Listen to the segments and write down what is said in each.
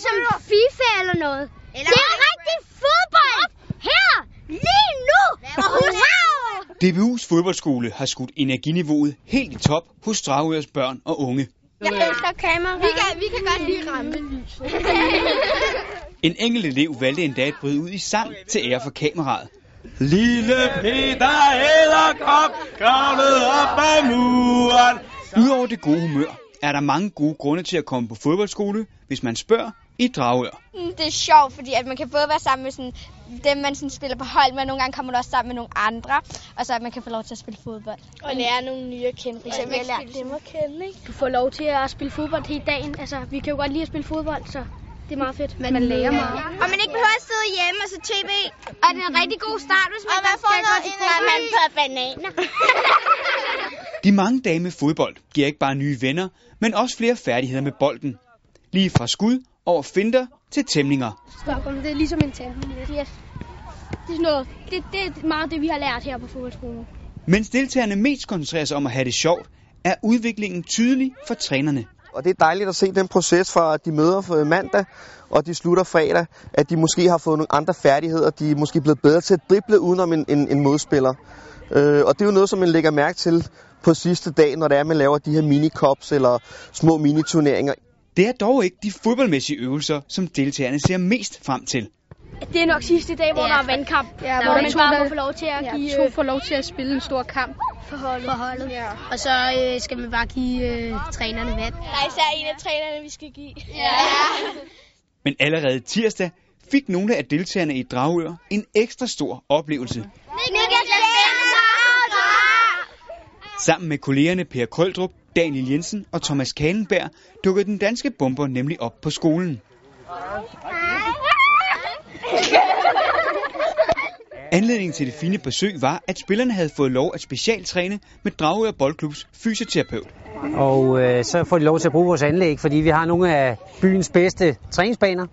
som FIFA eller noget. Eller det er rigtig fodbold her, lige nu, og hurra! DBU's fodboldskole har skudt energiniveauet helt i top hos Dragørs børn og unge. Jeg elsker kamera. Vi kan, vi kan godt lide ramme. En enkelt elev valgte endda at bryde ud i sang til ære for kameraet. Lille Peter Æderkop kravlede op ad muren. Udover det gode humør, er der mange gode grunde til at komme på fodboldskole, hvis man spørger i Dragør. Mm, Det er sjovt, fordi at man kan både være sammen med sådan, dem, man sådan spiller på hold med, og nogle gange kommer man også sammen med nogle andre, og så at man kan få lov til at spille fodbold. Mm. Og lære nogle nye at kende. For eksempel, jeg lærte dem at kende, ikke? Du får lov til at spille fodbold hele dagen. Altså, vi kan jo godt lide at spille fodbold, så det er meget fedt. Man, man lærer meget. Og man ikke behøver at sidde hjemme og så tv. Og det er en rigtig god start, hvis man, Og man får noget man energi. på bananer. De mange dage med fodbold giver ikke bare nye venner, men også flere færdigheder med bolden. Lige fra skud over finder til tæmninger. Stockholm, det er ligesom en tanden. Yes. Det er sådan noget. Det, det er meget det, vi har lært her på fodboldskolen. Mens deltagerne mest koncentrerer sig om at have det sjovt, er udviklingen tydelig for trænerne. Og det er dejligt at se den proces fra, at de møder øh, mandag, og de slutter fredag, at de måske har fået nogle andre færdigheder, de er måske blevet bedre til at drible udenom en, en, en modspiller. Øh, og det er jo noget, som man lægger mærke til på sidste dag, når det er, man laver de her minikops eller små miniturneringer. Det er dog ikke de fodboldmæssige øvelser, som deltagerne ser mest frem til. Det er nok sidste dag, hvor ja. der er vandkamp. Ja, hvor man bare må få lov til at ja, give... To får lov til at spille en stor kamp for holdet. For holdet. Ja. Og så øh, skal man bare give øh, trænerne vand. Der er især en af trænerne, vi skal give. Men allerede tirsdag fik nogle af deltagerne i Dragør en ekstra stor oplevelse. Sammen med kollegerne Per Krøldrup, Daniel Jensen og Thomas Kalenberg dukkede den danske bomber nemlig op på skolen. Anledningen til det fine besøg var, at spillerne havde fået lov at specialtræne med Dragør Boldklubs fysioterapeut. Og øh, så får de lov til at bruge vores anlæg, fordi vi har nogle af byens bedste træningsbaner.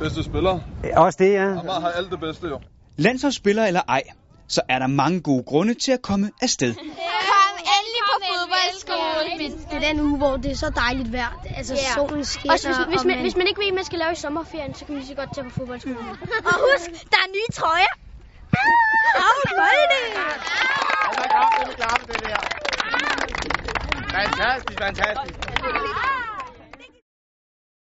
Bedste spiller. Øh, Også det, ja. Amager har alt det bedste jo. Landsholdsspiller eller ej, så er der mange gode grunde til at komme afsted. Kom endelig på fodboldskolen. Det er den uge, hvor det er så dejligt vejr. Altså, yeah. solen skinner. Også hvis, hvis, man, hvis man ikke ved, man skal lave i sommer. Ferien, så kan man lige så godt tage på fodboldskolen. Og husk, der er nye trøjer. Ah, Åh, hvor Altså, kom, det er klart, det der. Fantastisk, fantastisk. er det?